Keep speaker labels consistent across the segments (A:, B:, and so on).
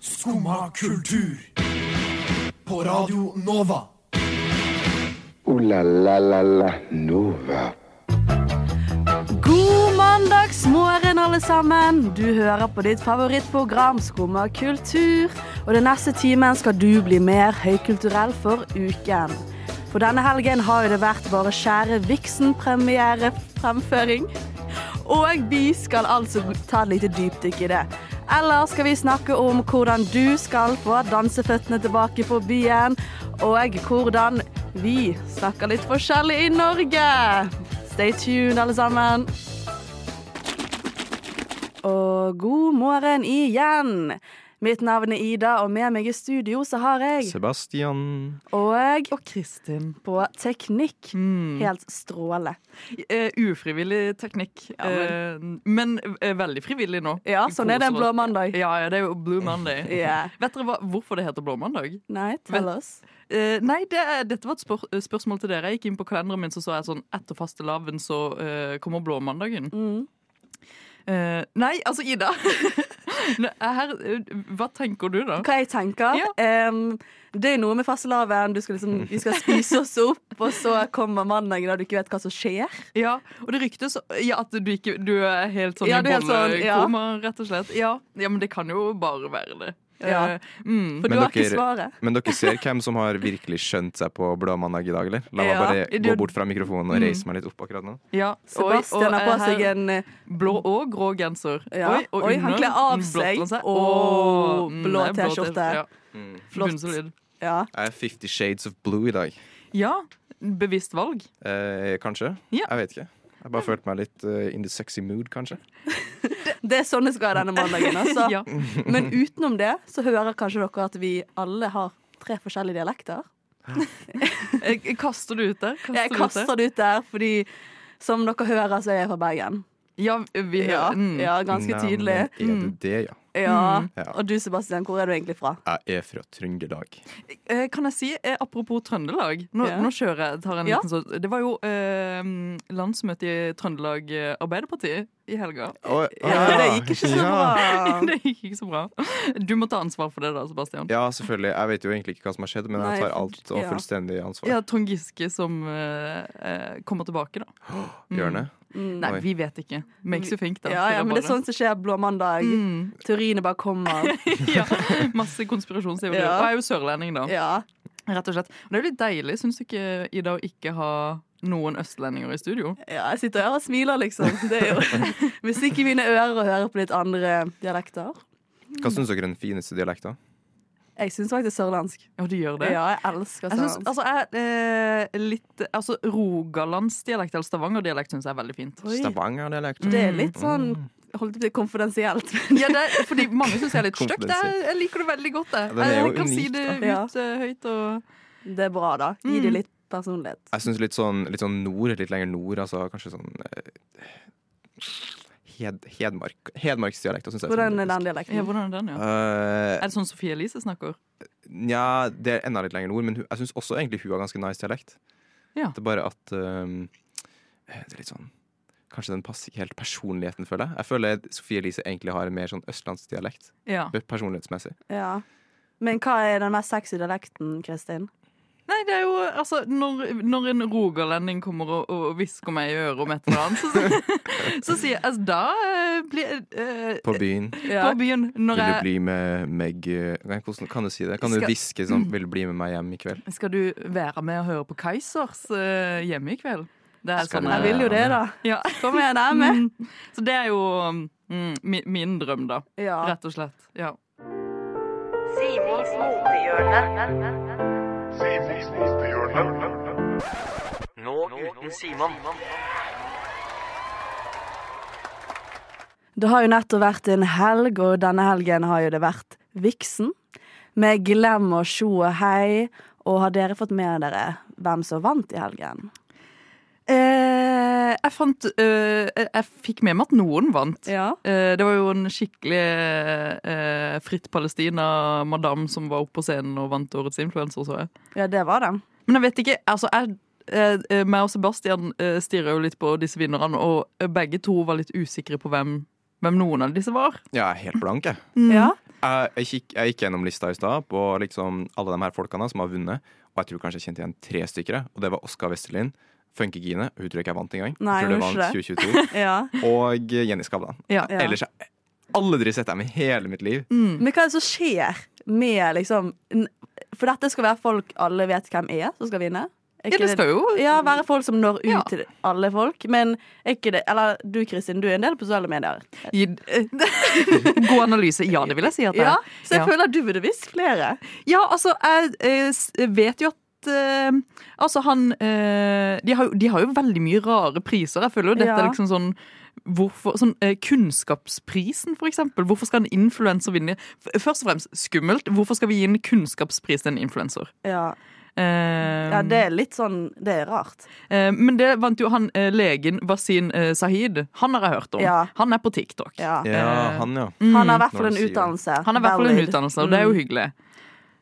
A: Skumma kultur. På Radio Nova.
B: Ooh la la la la Nova.
C: God mandagsmorgen, alle sammen. Du hører på ditt favorittprogram Skumma kultur. Og den neste timen skal du bli mer høykulturell for uken. For denne helgen har jo det vært våre kjære Vixen-premierefremføring. Og vi skal altså ta et lite dypdykk i det. Eller skal vi snakke om hvordan du skal få danseføttene tilbake på byen, og hvordan vi snakker litt forskjellig i Norge. Stay tuned, alle sammen. Og god morgen igjen. Mitt navn er Ida, og med meg i studio så har jeg
D: Sebastian.
C: og
E: Og Kristin.
C: på teknikk.
E: Mm.
C: Helt stråle.
E: Eh, ufrivillig teknikk. Eh, men eh, veldig frivillig nå.
C: Ja, sånn er det en blå mandag.
E: Ja, ja, det er jo Blue Monday.
C: Ja.
E: Vet dere hva, hvorfor det heter Blå mandag?
C: Nei, tell oss.
E: Eh, nei, det, er- dette var et spør eh, spørsmål til dere. Jeg gikk inn på kalenderen min, så så jeg sånn etter fastelavn så eh, kommer blåmandagen.
C: Mm.
E: Eh, nei, altså Ida. Nå, Her, eh, hva tenker du da?
C: Hva jeg tenker?
E: Ja.
C: em, det er noe med fastelavn. Du skal liksom, vi skal spise oss opp, og så kommer mandagen, og du ikke vet hva som skjer.
E: Ja, og det ryktes eh, ja, at du, ikke, du er helt sånn
C: Ja, du
E: i
C: er helt sånn, ja.
E: bollekoma, rett og slett. Ja. ja, men det kan jo bare være det.
C: Ja.
E: Eh, mm.
C: For
D: Men
C: du har ikke
D: dere-
C: svaret.
D: Men dere ser hvem som har virkelig skjønt seg på blåmandag i dag, eller? La meg
E: Ja,
D: bare
E: du-
D: gå bort fra mikrofonen og
E: Mm.
D: reise meg litt opp akkurat nå.
E: Ja. Oi,
C: Sebastian har
E: eh,
C: på seg
E: her-
C: en eh,
E: blå og grå genser.
C: Ja. Oi, han
E: under
C: kler av
E: en blå
C: seg.
E: genser.
C: Åh,
E: Åh, mm,
C: blå
E: nei,
C: T-skjorte.
E: Ja.
C: Flott.
E: Bunnsolid.
C: Ja.
D: Jeg er 50 Shades of Blue i dag.
E: Ja, bevisst valg.
D: Eh, kanskje?
E: Ja.
D: Jeg vet ikke. Jeg bare følte meg litt eh, in the sexy mood, kanskje.
C: Det er sånn det skal være denne mandagen. Altså.
E: Ja.
C: Men utenom det så hører kanskje dere at vi alle har tre forskjellige dialekter.
E: Jeg- jeg Eh, Kaster du ut der? Kaster
C: Jeg
E: du ut
C: kaster det ut der, fordi som dere hører, så er jeg fra Bergen.
E: Ja, vi hører.
C: Ja,
E: Mm.
C: ja ganske
D: Nei,
C: tydelig. Mm.
D: men eh, Er du det, ja?
C: Ja.
D: Ja.
C: Og du, Sebastian, hvor er du egentlig fra?
D: Jeg er fra Trøndelag.
E: Eh, Kan jeg si, eh, apropos Trøndelag Nå,
C: Ja.
E: nå kjører jeg, tar en
C: Ja.
E: liten sånn Det var jo eh, landsmøte i Trøndelag eh, Arbeiderparti i helga.
D: Å, å,
C: Ja, det gikk ikke så bra.
E: Det gikk ikke så bra. Du må ta ansvar for det, da, Sebastian.
D: Ja, selvfølgelig. Jeg vet jo egentlig ikke hva som har skjedd, men
C: Nei,
D: jeg tar
C: for-
D: alt og
C: ja.
D: fullstendig ansvar.
E: Ja, Trond Giske som eh, eh, kommer tilbake, da.
D: Bjørne.
E: Nei,
D: Oi.
E: vi vet ikke. Makes you think, da.
C: Mm. Ja, ja, men det er sånn som skjer blå mandag.
E: Mm.
C: Teoriene bare kommer.
E: ja. Masse konspirasjonsteorier.
C: Ja.
E: Og jeg er jo sørlending, da.
C: Ja.
E: Rett og slett. Og det er jo litt deilig, syns du ikke, Ida, å ikke ha noen østlendinger i studio?
C: ja, jeg sitter her og smiler, liksom. Det er jo musikk i mine ører å høre på litt andre dialekter. Mm.
D: Hva syns dere er den fineste dialekten?
C: Jeg syns faktisk sørlandsk.
E: Ja, de gjør det.
C: Ja, jeg elsker
E: Jeg synes,
C: sørlandsk.
E: altså, jeg, eh, litt, altså, Rogalandsdialekt eller stavangerdialekt syns jeg er veldig fint.
C: Oi.
D: Stavanger-dialekten? Mm.
C: Det er litt sånn holdt på å si konfidensielt. men-
E: Ja, det er, fordi Mange syns jeg er litt stygg. Jeg,
D: Konfidensielt.
E: jeg liker det veldig godt. Jeg,
D: den er
E: jeg
D: jo
E: kan si
D: unik,
E: det
C: da. Ja.
E: ut eh, høyt. Og,
C: Det er bra, da. Gi det
E: Mm.
C: litt personlighet.
D: Jeg syns litt sånn, litt sånn nord, litt lenger nord, altså kanskje sånn eh, Hed, Hedmark Hedmarksdialekta syns jeg
C: Hvordan er den
E: ja,
C: dialekten?
E: hvordan er den, ja?
D: Uh,
E: Er det sånn Sofie Elise snakker?
D: Nja, det er enda litt lenger nord, men hun, jeg syns også egentlig hun har ganske nice dialekt.
E: Ja.
D: Det er bare at ehm, det er litt sånn Kanskje den passer ikke helt personligheten, føler jeg. Jeg føler Sofie Elise egentlig har en mer sånn østlandsdialekt
E: Ja.
D: personlighetsmessig.
C: Ja. Men hva er den mest sexy dialekten, Kristin?
E: Nei, det er jo altså Når, når en rogalending kommer og, og hvisker meg i øret om et eller annet, så, så sier jeg altså, Da eh, blir eh,
D: På byen.
E: På
C: Ja.
E: byen,
D: Vil
E: når
D: du
E: jeg
D: bli med meg eh, Nei, hvordan kan du si det? Kan du
E: Skal-
D: hviske sånn 'Vil du bli med meg hjem i kveld'?
E: Skal du være med og høre på Kaizers eh, hjemme i kveld? Det er
D: Skal
E: sånn
D: du-
C: Jeg vil jo det, da.
E: Ja.
C: Kom igjen, jeg er med.
E: Mm. Så det er jo mm, mi- min drøm, da.
C: Ja.
E: Rett og slett. Ja.
F: Simons motehjørne. Nå uten Simon.
C: Det har jo nettopp vært en helg, og denne helgen har jo det vært Vixen. Med Glem og Sjo og Hei. Og har dere fått med dere hvem som vant i helgen?
E: Eh, jeg fant eh, Jeg jeg fikk med meg at noen vant.
C: Ja.
E: Eh, det var jo en skikkelig eh, Fritt Palestina-madam som var oppe på scenen og vant Årets influenser, så jeg.
C: Ja, det var den.
E: Men jeg vet ikke, altså jeg eh, eh, meg og Sebastian eh, stirrer jo litt på disse vinnerne, og eh, begge to var litt usikre på hvem, hvem noen av disse var. Mm.
D: Ja, jeg er helt blank, jeg.
C: Ja.
D: jeg, jeg, gikk, jeg gikk gjennom lista i stad på liksom alle de her folkene som har vunnet. Og jeg tror kanskje jeg kjente igjen tre stykker. jeg. Og det var Oskar Westerlin, Funky Gine Hun tror jeg ikke jeg vant engang.
C: Nei,
D: jeg tror det
C: hun
D: vant
C: gjorde
D: 2022.
C: Ja.
D: Og Jenny Skavlan.
E: Ja.
C: Ja. Mm.
D: Ellers har jeg aldri sett dem i hele mitt liv.
E: Mm.
C: Men hva er det som skjer med liksom n- For dette skal være folk alle vet hvem er, som skal vinne. Er
E: Ja,
C: ikke
E: det skal jo
C: ja, være folk som når ut
E: Ja.
C: til alle folk. Men er ikke det Eller du, Kristin, du er en del på sosiale medier.
E: gi God analyse. Ja, det vil jeg si at det
C: Ja,
E: er.
C: Så jeg
E: Ja.
C: føler at du burde visst flere.
E: Ja, altså, jeg eh, s- vet jo at eh, Altså, han eh, de, har, jo- de har jo veldig mye rare priser. Jeg føler jo dette
C: Ja.
E: er liksom sånn Hvorfor, sånn, eh, kunnskapsprisen, for eksempel. Hvorfor skal en influenser vinne? F- Først og fremst, skummelt. Hvorfor skal vi gi en kunnskapspris til en influenser?
C: Ja.
E: Eh,
C: ja, det er litt sånn Det er rart.
E: eh, men det vant jo han eh, legen Wasim eh, Sahid. Han har jeg hørt om.
C: Ja.
E: Han er på TikTok.
C: Ja.
D: Ja, han, ja.
C: Han har i hvert
D: Når
C: fall
D: du
C: en
D: sier det.
C: utdannelse.
E: Mm. Han har i hvert fall en
C: Valid. Mm.
E: utdannelse, og det er jo hyggelig.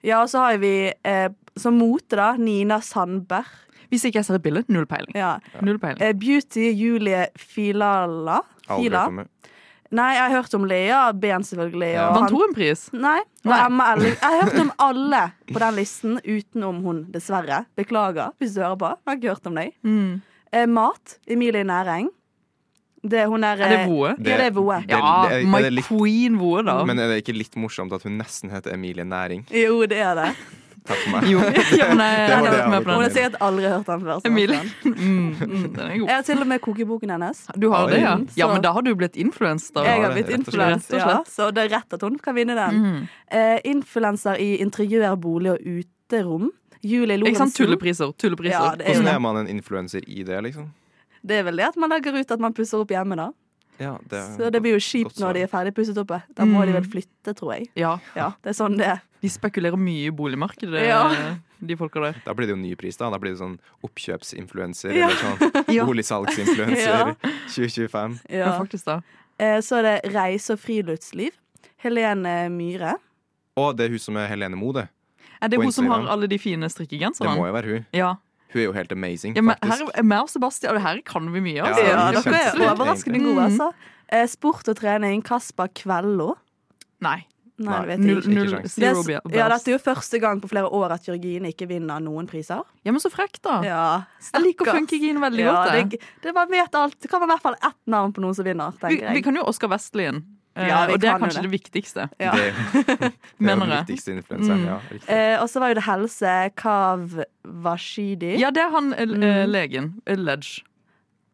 C: Ja, og så har vi eh, som mote, da, Nina Sandberg.
E: Hvis ikke jeg ser et bilde, null peiling.
C: Ja.
E: Null peiling.
C: Eh, Beauty Julie Filala.
D: Aldri
C: Fila.
D: kommet.
C: Nei, jeg har hørt om Lea Ben, selvfølgelig.
D: Ja.
C: Og
E: Vant
C: han,
E: hun en pris?
C: nei, og
E: Nei.
C: Emma Elling. Jeg har hørt om alle på den listen utenom hun, dessverre. Beklager hvis du hører på. Jeg har ikke hørt om deg.
E: Mm.
C: Eh, mat. Emilie Næreng. Det, hun er,
E: Er det
C: eh,
E: Voe?
C: Ja, det er Voe.
D: Det-
E: Ja,
D: det er-
E: my
D: det er litt-
E: queen Voe, da.
D: Men er det ikke litt morsomt at hun nesten heter Emilie Næring?
C: Jo, det er det.
D: Takk for meg.
E: jo, ja, men jeg,
D: Det
E: jeg
D: var
E: har
D: det
E: vært med
C: Hun
D: jeg
E: på
D: var
C: har
E: den.
D: på.
C: sikkert aldri hørt den før. sånn.
E: Emilie. Mm, mm, den er
C: Jeg
E: god.
C: har til og med kokeboken hennes.
E: Du har det, ja?
D: Oi.
E: Ja, men da har du blitt influenset da.
D: Ja,
C: Jeg har
D: det-
C: blitt
D: rett og
C: influens,
D: slett.
E: Rett og Mm.
C: ja, så det er rett at hun kan vinne den. Eh, influenser i interiør, bolig og uterom. Julie
E: Ikke sant?
C: Lorentzen.
E: Tullepriser. Tullepriser.
C: Ja, det er jo
D: Hvordan
C: det.
D: er man en influenser i det, liksom?
C: Det er vel det at man legger ut at man pusser opp hjemme, da.
D: Ja, det,
C: Så det blir jo kjipt
D: godt svar.
C: når de er ferdig pusset opp. eh. Da må
E: Mm.
C: de vel flytte, tror jeg.
E: Ja,
C: Ja, det er sånn det er.
E: De spekulerer mye i boligmarkedet,
C: Ja.
E: de folka der.
D: Da blir det jo ny pris, da. Da blir det sånn oppkjøpsinfluenser
C: Ja.
D: eller sånn
E: Ja.
D: boligsalgsinfluenser 2025.
E: Ja.
C: Ja.
E: faktisk da.
C: Eh, så er det reise og friluftsliv. Helene Myhre.
D: Og det er hun som er Helene Moe, det.
E: Er det
D: På
E: hun som har
D: Instagram.
E: alle de fine
D: Det må
E: strikkegenserne?
D: jo være hun.
E: Ja.
D: Hun er jo helt amazing,
E: Sånn. ja, men her
D: faktisk.
E: er meg og Sebastian, og her kan vi mye. Altså.
D: Ja,
C: Ja,
D: det er
C: dere er
D: kjempesnilt,
C: overraskende
E: egentlig.
C: gode, altså. Eh, sport og trening. Kasper Kvello.
E: Nei.
C: Nei,
D: Nei,
C: det vet jeg
E: Null,
C: ikke.
E: null,
D: sjans.
C: Det er,
E: zero
C: s- ja, dette er jo første gang på flere år at Jørgine ikke vinner noen priser.
E: ja, men så frekt, da.
C: Ja,
E: Ah. Jeg liker
C: stakkars.
E: funkygin veldig
C: Ja,
E: godt. jeg.
C: det, det, man vet alt. det kan være i hvert fall ett navn på noen som vinner.
E: Vi,
C: tenker
E: vi
C: jeg.
E: kan jo Oskar Vestlien. Eh,
C: Ja, vi
E: og det er
C: kan jo
E: kanskje
C: det.
E: det. viktigste.
C: Ja.
D: Det er jo, det er jo
E: Mener
D: den
E: jeg.
D: viktigste influenseren. Ja, riktig.
C: Eh, og så var jo det helse Kav Washidi.
E: Ja, det er han eh, eh, legen. eh, Ledge.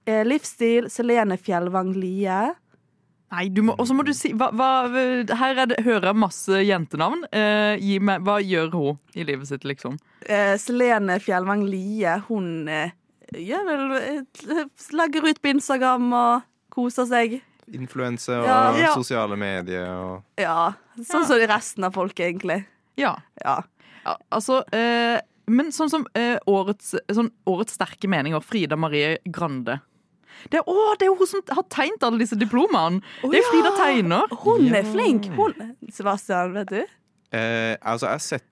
C: Eh, livsstil Selene Fjellvang Lie.
E: Nei, du må, og så må du si hva, hva, eh, Her er det, hører jeg masse jentenavn. Eh, gi meg, hva gjør hun i livet sitt, liksom?
C: Eh, Selene Fjellvang Lie, hun eh, gjør vel eh, Legger ut på Instagram og koser seg.
E: Mm.
D: Influense og
C: Ja, ja.
D: sosiale medier og
C: Ja. Sånn som resten av folket, egentlig.
E: Ja,
C: Ja.
E: ja altså eh, Men sånn som eh, årets, sånn, årets sterke meninger, Frida Marie Grande. Det er, å, det er jo hun som har tegnet alle disse diplomene! det er jo
C: Å,
E: Frida
C: ja.
E: Tegner.
C: Hun er flink! Hun, Sebastian, vet du.
D: eh, Altså, jeg har sett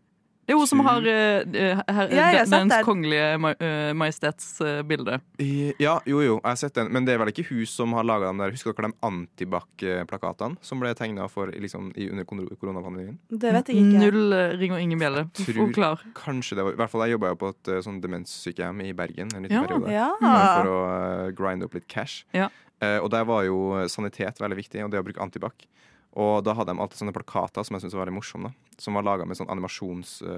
E: Det er hun som har eh, eh,
C: Ja,
E: her,
C: jeg har sett
E: Dens
C: det.
E: kongelige ma- eh, majestets eh, bilde.
D: I- Ja, jo, jo, jeg har sett den. Men det er vel ikke hun som har laga dem der. Husker dere de antibac-plakatene som ble tegna liksom, i- under kon- koronapandemien?
C: Det vet jeg ikke.
E: Null eh, ring og ingen bjelle.
D: Tror-
E: Forklar.
D: Kanskje det var I hvert fall jeg jobba jo på et eh, sånn demenssykehjem i Bergen en liten
E: Ja.
D: periode.
C: Ja.
D: Bare For å eh, grinde opp litt cash.
E: Ja.
D: Eh, og der var jo sanitet veldig viktig, og det å bruke antibac. Og da hadde de alltid sånne plakater som jeg syntes var veldig morsomme, da, som var laga med sånn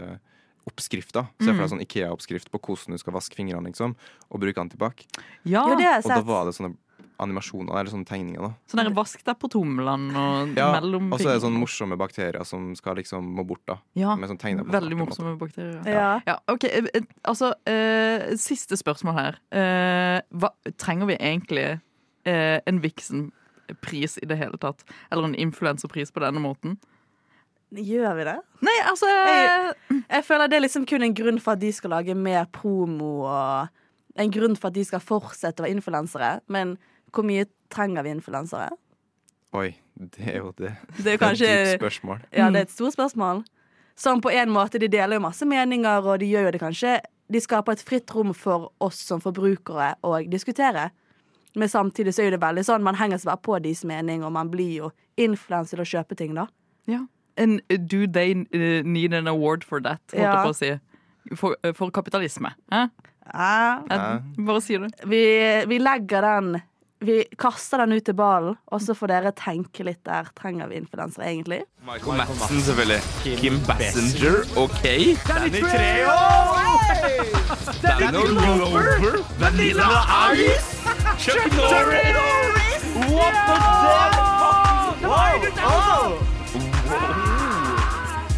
D: animasjonsoppskrifter. Se for deg sånn Ikea-oppskrift på hvordan du skal vaske fingrene, liksom, og bruke antibac.
E: Ja,
C: Jo, det har jeg
D: Og da
C: sett.
D: var det sånne animasjoner, eller sånne tegninger, da.
E: sånn der vask deg på tommelen og
D: Ja,
E: mellom
D: og så er det sånn sånne
E: fingrene.
D: morsomme bakterier som skal liksom må bort, da.
E: Ja,
D: Med sånn tegner på
E: Veldig
D: svarte
E: morsomme bakterier.
C: Ja.
E: Ja, ok, eh, eh, altså eh, Siste spørsmål her. Eh, hva, trenger vi egentlig eh, en Vixen-pris i det hele tatt? Eller en influenserpris på denne måten?
C: Gjør vi det?
E: Nei, altså
C: Jeg- Jeg føler det er liksom kun en grunn for at de skal lage mer promo og en grunn for at de skal fortsette å være influensere. Men hvor mye trenger vi influensere?
D: Oi, det er jo det.
C: Det er jo
D: Det
C: kanskje
D: er et dypt spørsmål.
C: Ja, det er et stort spørsmål. Som på en måte, de deler jo masse meninger, og de gjør jo det kanskje De skaper et fritt rom for oss som forbrukere å diskutere. Men samtidig så er jo det veldig sånn man henger seg bare på deres mening, og man blir jo influenset til å kjøpe ting, da.
E: Ja. en Do they eh, need an award for that, holdt
C: Ja.
E: jeg på å si. For, eh, for kapitalisme. Hæ?
C: Ja,
E: Jeg,
D: Ja.
E: Bare sier det.
C: vi, vi legger den Vi kaster den ut til ballen, og så får dere tenke litt der. Trenger vi influensere, egentlig?
G: Michael Madsen, selvfølgelig. Kim Bassinger, OK. Danny Treho! Danny Glover! Vanilla Ice! Chuck Norris! What the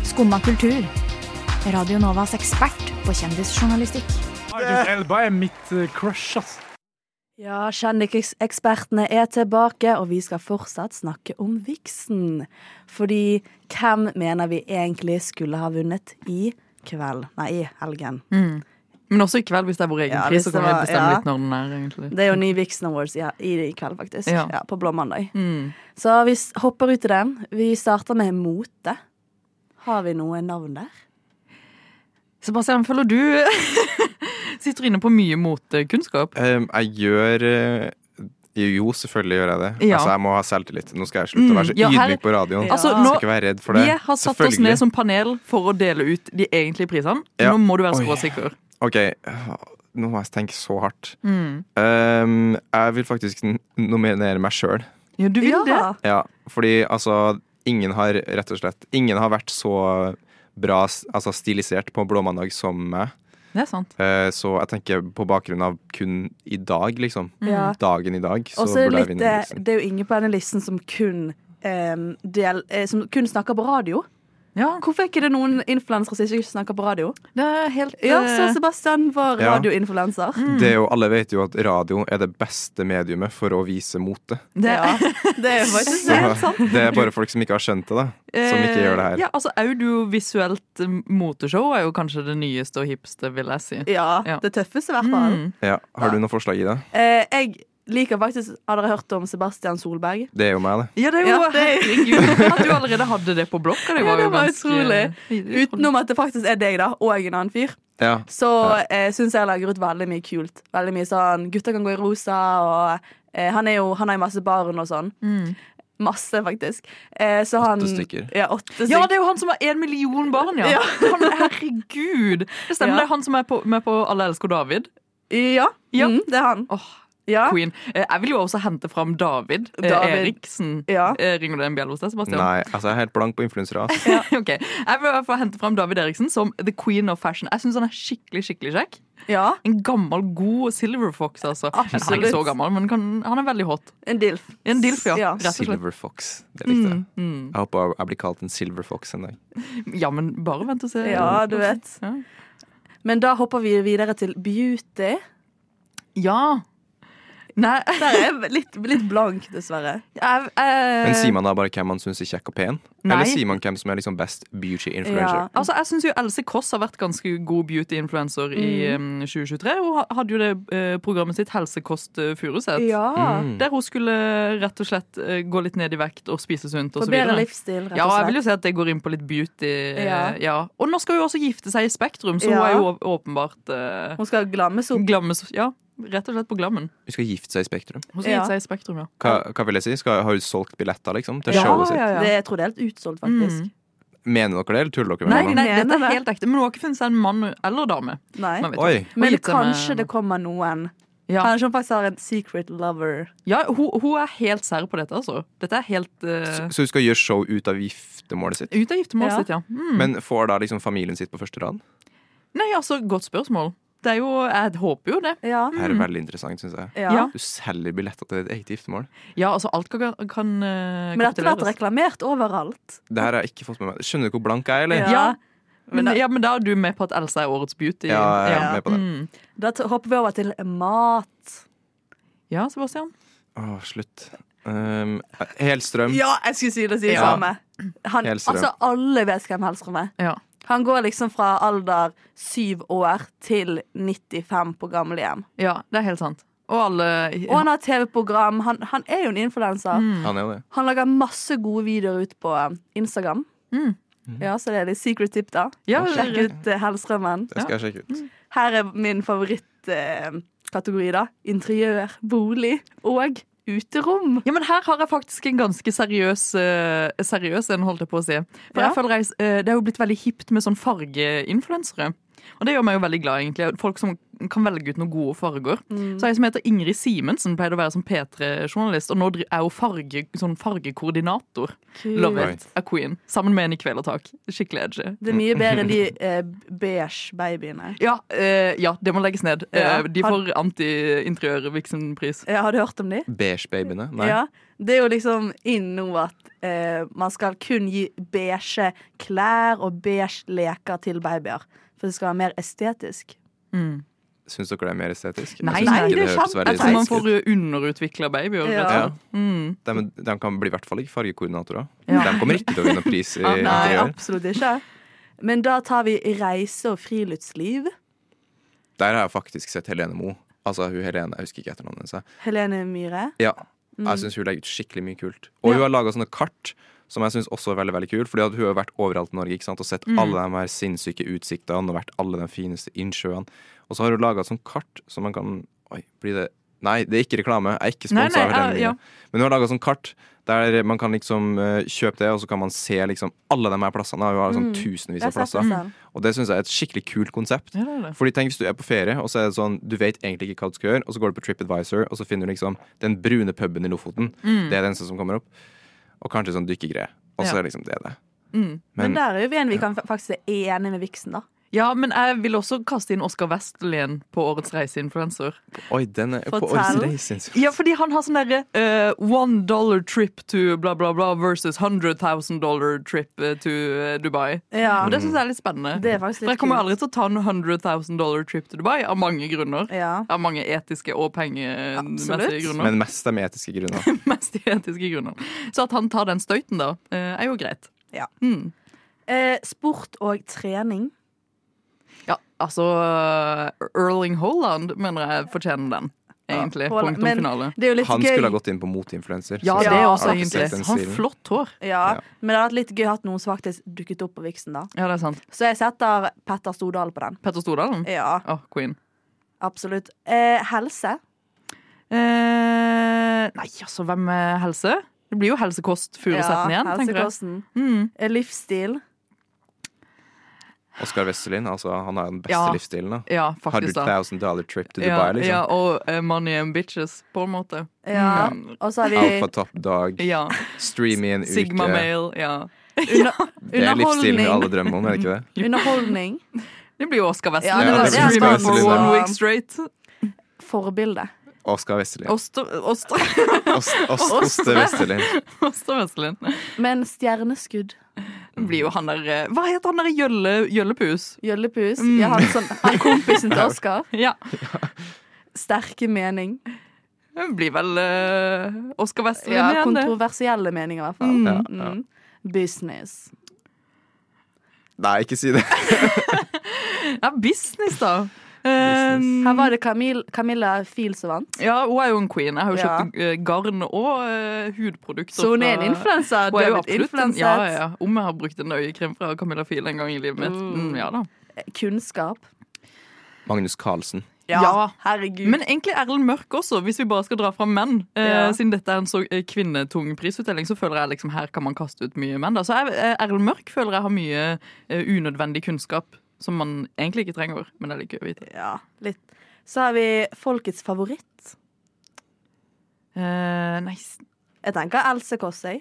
H: Skumma kultur. Radio Novas ekspert på kjendisjournalistikk.
I: Idris Elba er mitt eh, crush, ass.
C: Ja, kjendisekspertene er tilbake, og vi skal fortsatt snakke om viksen. Fordi hvem mener vi egentlig skulle ha vunnet i kveld? Nei, i helgen.
E: Men også i kveld, hvis det er vår egen
C: Ja,
E: pris,
C: hvis
E: så
C: det
E: kan vi
C: var-
E: bestemme
C: ja.
E: litt når den er. egentlig.
C: Det er jo ny Vixen Awards i, i, i kveld, faktisk. Ja.
E: Ja.
C: på Blå mandag.
E: Mm.
C: Så vi s- hopper ut i den. Vi starter med mote. Har vi noe navn der?
E: Sebastian, føler du sitter inne på mye motekunnskap?
D: Um, jeg gjør eh, Jo, selvfølgelig gjør jeg det.
E: Ja.
D: Altså, Jeg må ha selvtillit. Nå skal jeg slutte å være så
E: Mm, ja, her-
D: ydmyk på radioen.
C: Ja.
E: Altså,
D: Jeg
E: nå,
D: skal ikke være redd for det.
E: vi har satt oss ned som panel for å dele ut de egentlige prisene.
D: Ja.
E: Nå må du være
D: Oi.
E: skråsikker.
D: OK, nå må jeg tenke så hardt.
E: Mm.
D: Um, jeg vil faktisk n- nominere meg sjøl.
E: Ja, du vil det?
D: Ja, fordi altså Ingen har rett og slett Ingen har vært så bra s- altså, stilisert på Blåmandag som meg.
E: Det er sant.
D: Eh, så jeg tenker på bakgrunn av kun i dag, liksom.
C: Ja.
D: Dagen i dag, så
C: Og så er
D: burde
C: det
D: jeg
C: litt
D: vinne.
C: eh,
D: Liksom.
C: Det er jo ingen på denne listen som kun em, del, eh, Som kun snakker på radio.
E: Ja,
C: Hvorfor er ikke det noen influensere som ikke snakker på radio?
E: det er helt
C: Ja,
E: eh,
C: så Sebastian var
D: Ja.
C: radioinfluenser.
D: Det er jo, alle vet jo at radio er det beste mediumet for å vise mote.
E: det
C: Ja, det er faktisk
D: Så
C: det.
D: det er bare folk som ikke har skjønt det, da. Som ikke gjør det her.
E: Ja, altså Audiovisuelt eh, moteshow er jo kanskje det nyeste og hipste, vil jeg si.
C: Ja,
E: Ja.
C: det tøffeste i hvert fall.
E: Mm.
D: Ja, har du noe forslag i det?
C: Eh, jeg liker faktisk Har dere hørt om Sebastian Solberg?
D: Det er jo meg, det.
E: Ja, det er jo
C: Ja, det-
E: Herregud, at du allerede hadde det på blokka.
C: Ja,
E: Det var,
C: det
E: jo
C: var
E: ganske-
C: utrolig.
E: Utenom
C: Utenom at det faktisk er deg, da, og en annen fyr.
D: Ja.
C: Så eh, syns jeg han legger ut veldig mye kult. Veldig mye sånn Gutter kan gå i rosa, og eh, han er jo Han har jo masse barn og sånn.
E: Mm.
C: Masse, faktisk. Eh, så han
D: stykker.
C: Ja, åtte stykker.
E: Ja, det er jo han som har én million barn, ja!
C: Ja.
E: Han, herregud! Det stemmer,
C: Ja.
E: det er han som er på, med på Alle elsker David.
C: ja.
E: Ja.
C: Mm, det er han.
E: Åh,
C: Ja.
E: Queen. Eh, Jeg vil jo også hente fram David, eh,
C: David.
E: Eriksen.
C: Ja.
E: Eh, Ringer det en bjelle hos deg, Sebastian?
D: Nei, altså jeg er helt blank på influensere. altså. ass.
E: Ok, Jeg vil i hvert fall hente fram David Eriksen som the queen of fashion. Jeg syns han er skikkelig skikkelig kjekk.
C: ja.
E: En gammel, god silver fox, altså. Eller, Han er ikke så
C: Absolutt.
E: gammel, men kan, han er veldig hot.
C: En dilf.
E: En dilf, ja.
C: Ja.
E: Rett og slett.
D: Silver Fox. Det likte jeg.
E: Mm.
D: Jeg håper jeg blir kalt en Silver Fox en dag.
E: Ja, men bare vent og se.
C: Ja, du vet.
E: Ja.
C: Men da hopper vi videre til beauty.
E: ja. Nei, jeg,
C: Der er jeg litt, litt blank, dessverre.
E: eh,
D: Men sier man da bare hvem man syns er kjekk og pen?
E: Nei.
D: Eller sier man hvem som er liksom best beauty influencer?
C: Ja.
E: Altså, jeg syns jo Else Kåss har vært ganske god beauty-influencer i
C: Mm.
E: eh, 2023. Hun ha- hadde jo det eh, programmet sitt Helsekost eh, Furuset.
C: Ja.
D: Mm.
E: Der hun skulle rett og slett eh, gå litt ned i vekt og spise sunt og så
C: For bedre
E: videre.
C: livsstil, rett
E: Ja,
C: og
E: jeg vil
C: slett.
E: jo si at det går inn på litt beauty. eh,
C: Ja.
E: Ja. Og nå skal hun jo også gifte seg i Spektrum, så hun
C: Ja.
E: er jo å- åpenbart eh,
C: Hun skal glammes opp.
E: glammes, ja, rett og slett på glammen.
D: Hun skal gifte seg i Spektrum.
E: Hun skal
C: Ja.
E: gifte seg i Spektrum, ja.
D: Hva, hva vil jeg si? Skal, har hun solgt billetter liksom, til
E: Ja,
D: showet sitt?
E: ja, ja.
C: Det, jeg tror det er helt utsolgt, faktisk.
E: Mm.
D: Mener dere det, eller tuller dere
E: Nei,
D: med meg? nå?
E: nei, dette
C: Mener
E: er
C: det.
E: helt ekte. Men hun har ikke funnet seg en mann eller dame.
C: Nei.
E: Man vet
D: Oi.
E: ikke. Hun har
C: Men
E: gitt seg med-
C: kanskje det kommer noen.
E: ja.
C: Kanskje hun faktisk har en secret lover.
E: ja, hun, hun er helt sær på dette, altså. Dette er helt
D: Så,
E: eh,
D: så hun skal gjøre show ut av giftermålet sitt?
E: Ut av giftermålet
C: Ja.
E: sitt, ja. Mm.
D: Men får da liksom familien sitt på første rad?
E: Nei, altså, godt spørsmål. Det er jo, jeg håper jo det.
C: Ja.
D: Det her er veldig interessant, syns jeg.
C: ja.
E: Mm. Ja.
D: Du selger billetter til ditt eget giftermål.
E: Ja, altså, alt kan, kan eh,
C: Men dette har vært
E: kapituleres.
C: reklamert overalt.
D: Det her har jeg ikke fått med meg. Skjønner du hvor blank jeg er, eller?
C: Ja.
E: Ja.
C: Men
E: Men,
C: da-
E: ja, men da er du med på at Elsa er årets beauty.
D: Ja, jeg er
C: Ja.
D: med på det.
E: Mm.
C: Da t- hopper vi over til mat.
E: ja Sebastian. Mm.
D: Å, slutt. Um, Helstrøm.
C: Ja, jeg skulle si det si
E: Ja.
C: samme. Han,
D: Hellstrøm.
C: altså, alle vet hvem Hellstrøm er.
E: Ja.
C: Han går liksom fra alder syv år til 95 på gamlehjem.
E: ja, det er helt sant. Og alle
C: Og han har TV-program. Han, han er jo en influenser.
E: Mm.
D: Han er jo det.
C: Han lager masse gode videoer ut på eh, Instagram.
E: Mm.
C: Ja, Så det er litt secret tip, da.
E: ja,
C: Sjekk ut eh, Hellstrømmen.
D: Det skal jeg sjekke ut.
E: Mm.
C: Her er min favorittkategori, da. Interiør, eh, bolig og uterom.
E: Ja, men her har jeg faktisk en ganske seriøs, eh, seriøs en, holdt jeg på å si. For
C: Ja.
E: jeg føler jeg, eh, Det er jo blitt veldig hipt med sånn fargeinfluensere. Og det gjør meg jo veldig glad, egentlig. Folk som kan velge ut noen gode farger.
C: Mm.
E: Så jeg som heter Ingrid Simensen, pleide å være sånn P3-journalist, og nå dri- er hun farge, sånn fargekoordinator. Love it. A queen. Sammen med en i Kvelertak. Skikkelig edgy.
C: Det er mye bedre enn de eh, beige babyene.
E: Ja, eh, ja, det må legges ned. Eh,
C: Ja.
E: de får anti-interiør-vixen-pris.
C: Ja, Eh, har du hørt om de?
D: Beige-babyene? Nei.
C: Ja, det er jo liksom inn nå at eh, man skal kun gi beige klær og beige leker til babyer. For det skal være mer estetisk.
D: Syns dere det er mer estetisk?
E: Nei,
D: Jeg syns
E: nei,
D: ikke
C: det er
D: høres
C: sant.
D: veldig
E: Jeg tror Altså, man
D: estetisk ut.
E: får underutvikla babyer. rett og
C: Ja.
E: slett. Mm.
D: de, de kan bli i hvert fall ikke fargekoordinatorer.
E: Ja.
D: De kommer ikke til å vinne pris i
E: Ah, nei,
C: Nei,
D: interiør.
C: absolutt ikke. Men da tar vi reise og friluftsliv.
D: Der har jeg faktisk sett Helene Moe. Altså hun Helene, jeg husker ikke etternavnet hennes. jeg.
C: Helene Myhre.
D: Ja,
E: Mm.
D: jeg syns hun legger ut skikkelig mye kult. Og hun har laga sånne kart som jeg syns også er veldig veldig kul, fordi at hun har vært overalt i Norge ikke sant? og sett
E: Mm.
D: alle de her sinnssyke utsiktene og vært alle de fineste innsjøene. Og så har hun laga et sånt kart som man kan Oi, blir det Nei, det er ikke reklame. Jeg er ikke
E: Nei,
D: sponsa av
E: nei,
D: Helene
E: ja, ja.
D: Myhre. Men hun har laga sånn kart der man kan liksom eh, kjøpe det, og så kan man se liksom alle de her plassene. Hun har sånn
E: Mm.
D: tusenvis
C: Jeg
D: av
C: har sett
D: plasser.
C: det selv.
D: Og det syns jeg er et skikkelig kult konsept.
E: Ja, det er det.
D: Fordi tenk hvis du er på ferie, og så er det sånn, du vet egentlig ikke hva du skal gjøre, og så går du på TripAdvisor, og så finner du liksom den brune puben i Lofoten. Det er den eneste som kommer opp. Og kanskje sånn dykkegreier. Og så
E: Mm. Ja.
D: er liksom det det.
E: Mm.
C: Men
D: Men,
C: der er jo en vi kan fa- faktisk være enig med Vixen, da.
E: Ja, men jeg vil også kaste inn Oskar Vestlien på Årets reiseinfluenser.
D: oi, den er på
C: Fortell.
D: Årets Reisins.
E: Ja, fordi han har sånn derre eh, one dollar trip to bla, bla, bla versus hundred thousand dollar trip eh, to eh, Dubai.
C: Ja,
D: Mm.
E: Og det syns jeg er litt spennende.
C: Det er faktisk litt
E: For jeg kommer
C: kult.
E: aldri til å ta en hundred thousand dollar trip to Dubai, av mange grunner.
C: Ja.
E: Av mange etiske og pengemessige
C: Absolutt.
E: grunner.
D: Men mest de etiske grunner.
E: Mest etiske grunner. Så at han tar den støyten, da, eh, er jo greit.
C: Ja.
E: Mm.
C: Eh, sport og trening.
E: Ja, altså Erling Haaland mener jeg fortjener den, egentlig.
C: Haaland.
E: Punktum
C: Men-
E: finale.
C: Det er jo litt
D: Han
C: gøy.
D: skulle ha gått inn på motinfluenser.
E: Ja,
D: så
E: det er
D: har
E: også
D: dere sett
E: egentlig.
D: den
E: Han
D: stilen?
E: har flott hår.
C: ja,
D: Ja.
C: Men det hadde vært litt gøy å ha noen som faktisk dukket opp på Vixen, da.
E: Ja, det er sant.
C: Så jeg setter Petter Stordalen på den.
E: Petter Stordalen.
C: Ja,
E: Å, queen.
C: absolutt. Eh, helse.
E: Eh, nei, altså, hvem er helse? Det blir jo helsekost Furusetten igjen, tenker jeg.
C: helsekosten.
E: Mm.
C: Eh, Livsstil.
D: Oskar Westerlin, altså, han har den beste
E: Ja.
D: livsstilen. da.
E: Ja, faktisk, da.
D: 100 000 dollar trip to
E: Ja,
D: Dubai, liksom.
E: ja, og eh, Money and Bitches, på en måte.
C: Ja.
E: Mm.
C: Og så har
D: Alfa
C: vi
D: Top Dog,
E: Ja.
D: stream i en uke.
E: Sigma Male, ja.
D: Det er livsstilen vi alle
C: underholdning.
D: drømmer om, er det ikke det?
C: underholdning.
E: Det blir jo Oscar Westlund.
C: Ja, det
D: var det jeg
E: Streaming
D: spurte
E: for
D: om.
E: one week straight.
C: Forbilde.
D: Oskar Westerlin.
E: Oster, Oster,
D: Ost- Ost- Oste Westerlin.
E: Oster Westlund.
C: Men stjerneskudd.
E: Det blir jo han der eh, Hva heter han der Jølle, Jøllepus?
C: Gjøllepus.
E: Mm.
C: Ja, han, sånn, han kompisen til Oskar.
E: Ja.
C: Sterke mening.
E: Det blir vel eh, Oscar Westlund
C: Ja,
E: igjen, det.
C: kontroversielle meninger, i hvert fall.
D: Ja, ja.
C: Mm. Business.
D: Nei, ikke si det.
E: Ja, business, da. Eh,
D: Business.
C: Her var det Camille, Camilla Fiel som vant.
E: ja, hun er jo en queen. Jeg har jo
C: Ja.
E: kjøpt eh, garn og eh, hudprodukter.
C: Så hun er
E: fra-
C: en influenser. Du
E: Hun er
C: har
E: jo
C: blitt
E: absolutt en-
C: influenset.
E: Ja, ja, ja. Om jeg har brukt en øyekrem fra Camilla Fiel en gang i livet mitt. Mm, ja da.
C: Kunnskap.
D: Magnus Carlsen.
E: Ja.
C: herregud.
E: Men egentlig Erlend Mørk også, hvis vi bare skal dra fram menn. Eh,
C: Ja.
E: Siden dette er en så eh, kvinnetung prisutdeling, så føler jeg liksom her kan man kaste ut mye menn. Da. Så jeg, eh, Erlend Mørk føler jeg har mye eh, unødvendig kunnskap som man egentlig ikke trenger. Men det er litt gøy å vite.
C: ja, litt. Så har vi folkets favoritt.
E: Eh, nei, s-
C: Jeg tenker Else Kåssøy.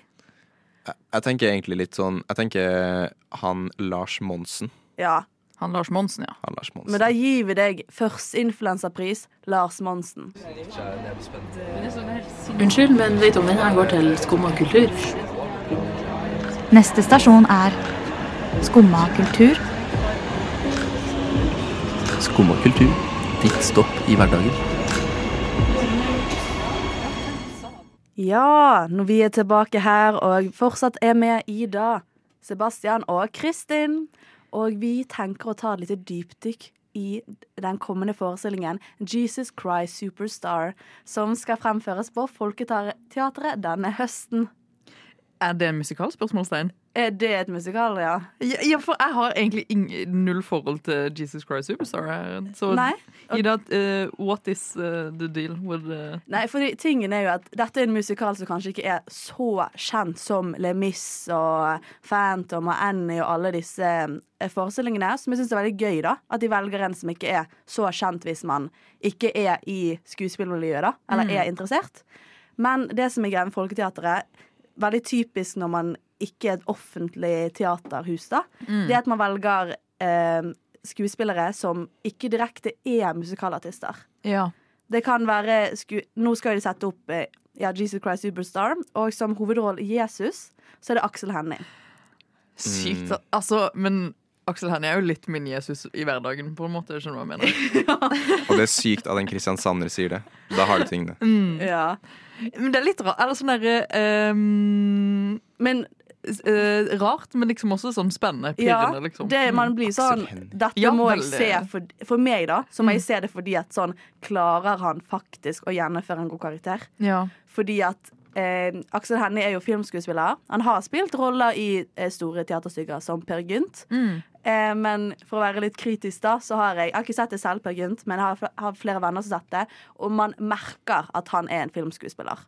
D: Jeg tenker egentlig litt sånn Jeg tenker han Lars Monsen.
C: Ja,
E: han Lars Monsen, ja.
D: Han Lars Monsen.
C: men da gir vi deg først influenserpris, Lars Monsen.
J: Unnskyld, men Veitongen her går til skum og kultur.
H: Neste stasjon er Skumma kultur.
K: Skum og kultur. Ditt stopp i hverdagen.
C: Ja, når vi er tilbake her og fortsatt er med Ida, Sebastian og Kristin. Og vi tenker å ta et lite dypdykk i den kommende forestillingen Jesus Christ Superstar, som skal fremføres på Folketeatret denne høsten.
E: Er det en musikalspørsmålstegn?
C: Eh, Er det et musikal, ja?
E: Ja, ja, for jeg har egentlig ing- null forhold til Jesus Christ Superstar. her, Så
C: Nei.
E: Ida, eh, what is eh, the deal with eh,
C: Nei, for tingen er jo at dette er en musikal som kanskje ikke er så kjent som Le Mis og Phantom og Annie og alle disse eh, forestillingene, som jeg syns er veldig gøy, da. At de velger en som ikke er så kjent hvis man ikke er i skuespillmiljøet, da. Eller er interessert. Men det som er greia med Folketeatret, veldig typisk når man ikke er et offentlig teaterhus, da, det er at man velger eh, skuespillere som ikke direkte er musikalartister.
E: Ja.
C: Det kan være sku Nå skal de sette opp eh, ja, Jesus Christ Superstar, og som hovedrolle Jesus, så er det Aksel Hennie.
E: Sykt. Altså, men Aksel Hennie er jo litt min Jesus i hverdagen, på en måte. Jeg skjønner hva jeg mener.
D: Og det er sykt at en Christian Sanner sier det. Da har du tingene.
E: Mm.
C: Ja.
E: Men det er litt rart. Eller sånn derre ehm,
C: Men
E: s- eh, Rart, men liksom også sånn spennende.
C: ja,
E: Pirrende, liksom.
C: det, man blir sånn
D: Hennie.
C: Dette
E: Ja,
C: må jeg
E: veldig. Mm.
C: se for, for meg, da. Så må jeg se det fordi at sånn Klarer han faktisk å gjennomføre en god karakter?
E: Ja.
C: Fordi at eh, Aksel Hennie er jo filmskuespiller. Han har spilt roller i eh, store teaterstykker som Per Gynt. Eh, men for å være litt kritisk, da, så har jeg, jeg har ikke sett det selv, Per Gynt, men jeg har, fl- har flere venner som har sett det, og man merker at han er en filmskuespiller.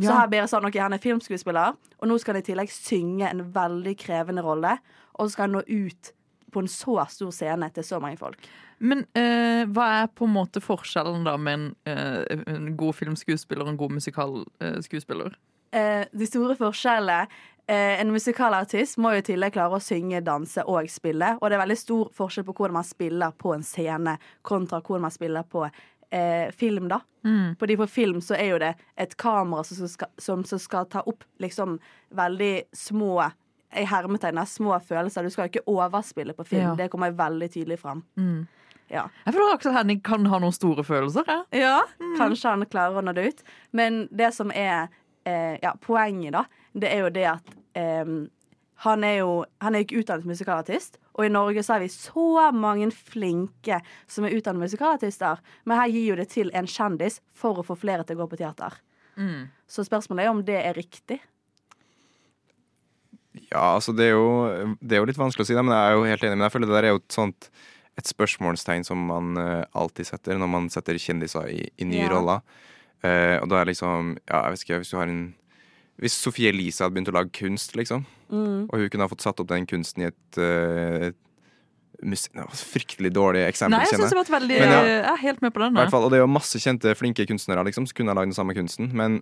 C: Så
E: Ja.
C: her blir det sånn ok, han er filmskuespiller, og nå skal han i tillegg synge en veldig krevende rolle, og så skal han nå ut på en så stor scene til så mange folk.
E: Men eh, hva er på en måte forskjellen da med en, eh, en god filmskuespiller og en god musikalskuespiller?
C: eh, de store forskjellene eh, En musikalartist må jo i tillegg klare å synge, danse og spille. Og det er veldig stor forskjell på hvordan man spiller på en scene kontra hvordan man spiller på eh, film. da Fordi På film så er jo det et kamera som skal, som, som skal ta opp liksom veldig små i hermetegn da, små følelser. Du skal jo ikke overspille på film.
E: Ja.
C: Det kommer veldig tydelig fram. Ja.
E: Jeg føler Aksel Hennie kan ha noen store følelser. jeg.
C: Ja,
E: Mm.
C: kanskje han klarer å nå det ut. Men det som er eh, ja, poenget, da, det er jo det at eh, han er jo han er jo ikke utdannet musikalartist, og i Norge så har vi så mange flinke som er utdannet musikalartister, men her gir jo det til en kjendis for å få flere til å gå på teater.
E: Mm.
C: Så spørsmålet er om det er riktig.
D: Ja, altså det er, jo, det er jo litt vanskelig å si det, men jeg er jo helt enig. Men jeg føler det der er jo et sånt et spørsmålstegn som man eh, alltid setter når man setter kjendiser i, i nye
C: Ja.
D: roller. Eh, og da er liksom Ja, jeg vet ikke, hvis du har en Hvis Sophie Elise hadde begynt å lage kunst, liksom,
E: Mm.
D: og hun kunne ha fått satt opp den kunsten i et, eh, et muse- det var et fryktelig dårlig eksempel,
E: Nei, jeg synes det var et veldig
D: Men ja.
E: eh, Jeg er helt med på den.
D: I
E: da.
D: hvert fall, og det er jo masse kjente, flinke kunstnere liksom, som kunne ha lagd den samme kunsten, men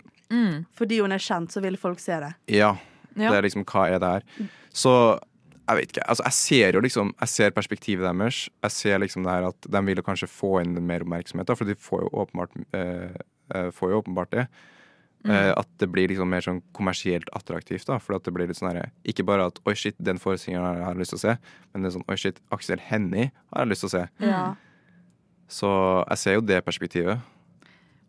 C: Fordi hun er kjent, så vil folk se det.
D: ja.
E: Ja.
D: Det er liksom, hva er det her? Så jeg vet ikke. Altså, jeg ser jo liksom Jeg ser perspektivet deres. Jeg ser liksom det her at de vil jo kanskje få inn mer oppmerksomhet, da, for de får jo åpenbart, eh, eh, får jo åpenbart det.
C: Mm.
D: Eh, at det blir liksom mer sånn kommersielt attraktivt. da For at det blir litt sånn her, Ikke bare at 'oi, shit, den forestillingen her har jeg lyst til å se', men det er sånn 'oi, shit, Aksel Hennie har jeg lyst til å se'.
E: Mm.
C: Ja.
D: Så jeg ser jo det perspektivet.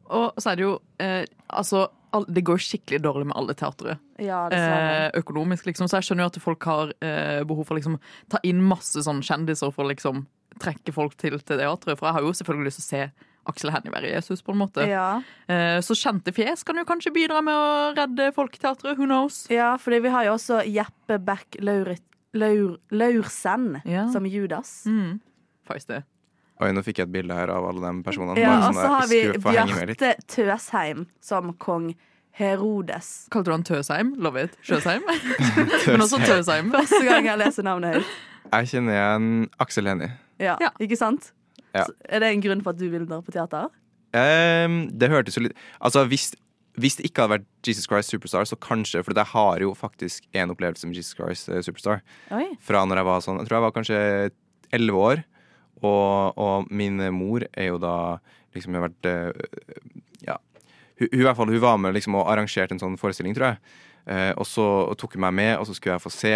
E: Og så er det jo eh, Altså, all, det går skikkelig dårlig med alle teatre.
C: Ja, dessverre.
E: Eh, økonomisk, liksom. Så jeg skjønner jo at folk har eh, behov for å liksom, ta inn masse sånne kjendiser for å liksom trekke folk til, til teatret. For jeg har jo selvfølgelig lyst til å se Aksel Hennie være Jesus, på en måte.
C: ja.
E: Eh, så kjente fjes kan jo kanskje bidra med å redde folketeatret. Who knows?
C: Ja, fordi vi har jo også Jeppe Beck Laur Laur Laursen
E: Ja.
C: som Judas.
E: Mm. Feisty.
D: Oi, nå fikk jeg et bilde her av alle de personene.
C: Ja,
D: Bare
C: og
D: sånn
C: så
D: der,
C: har vi
D: skru- få henge med litt.
C: Bjarte Tøsheim som kong Herodes.
E: Kalte du han Tøsheim? Love it. Sjøsheim? Men også Tøsheim.
C: Første gang jeg leser navnet høyt.
D: Jeg kjenner igjen Aksel Hennie.
C: Ja,
E: Ja.
C: Ikke sant?
D: Ja.
C: Så Er det en grunn for at du vil dra på teater?
D: Ehm, det hørtes jo litt Altså, hvis, hvis det ikke hadde vært Jesus Christ Superstar, så kanskje, for jeg har jo faktisk en opplevelse med Jesus Christ eh, Superstar.
C: Oi.
D: Fra når jeg var sånn Jeg tror jeg var kanskje elleve år, og, og min mor er jo da liksom har vært eh, Ja. Hun, hun, i hvert fall, hun var med liksom, og arrangerte en sånn forestilling, tror jeg. Eh, og så tok hun meg med, og så skulle jeg få se,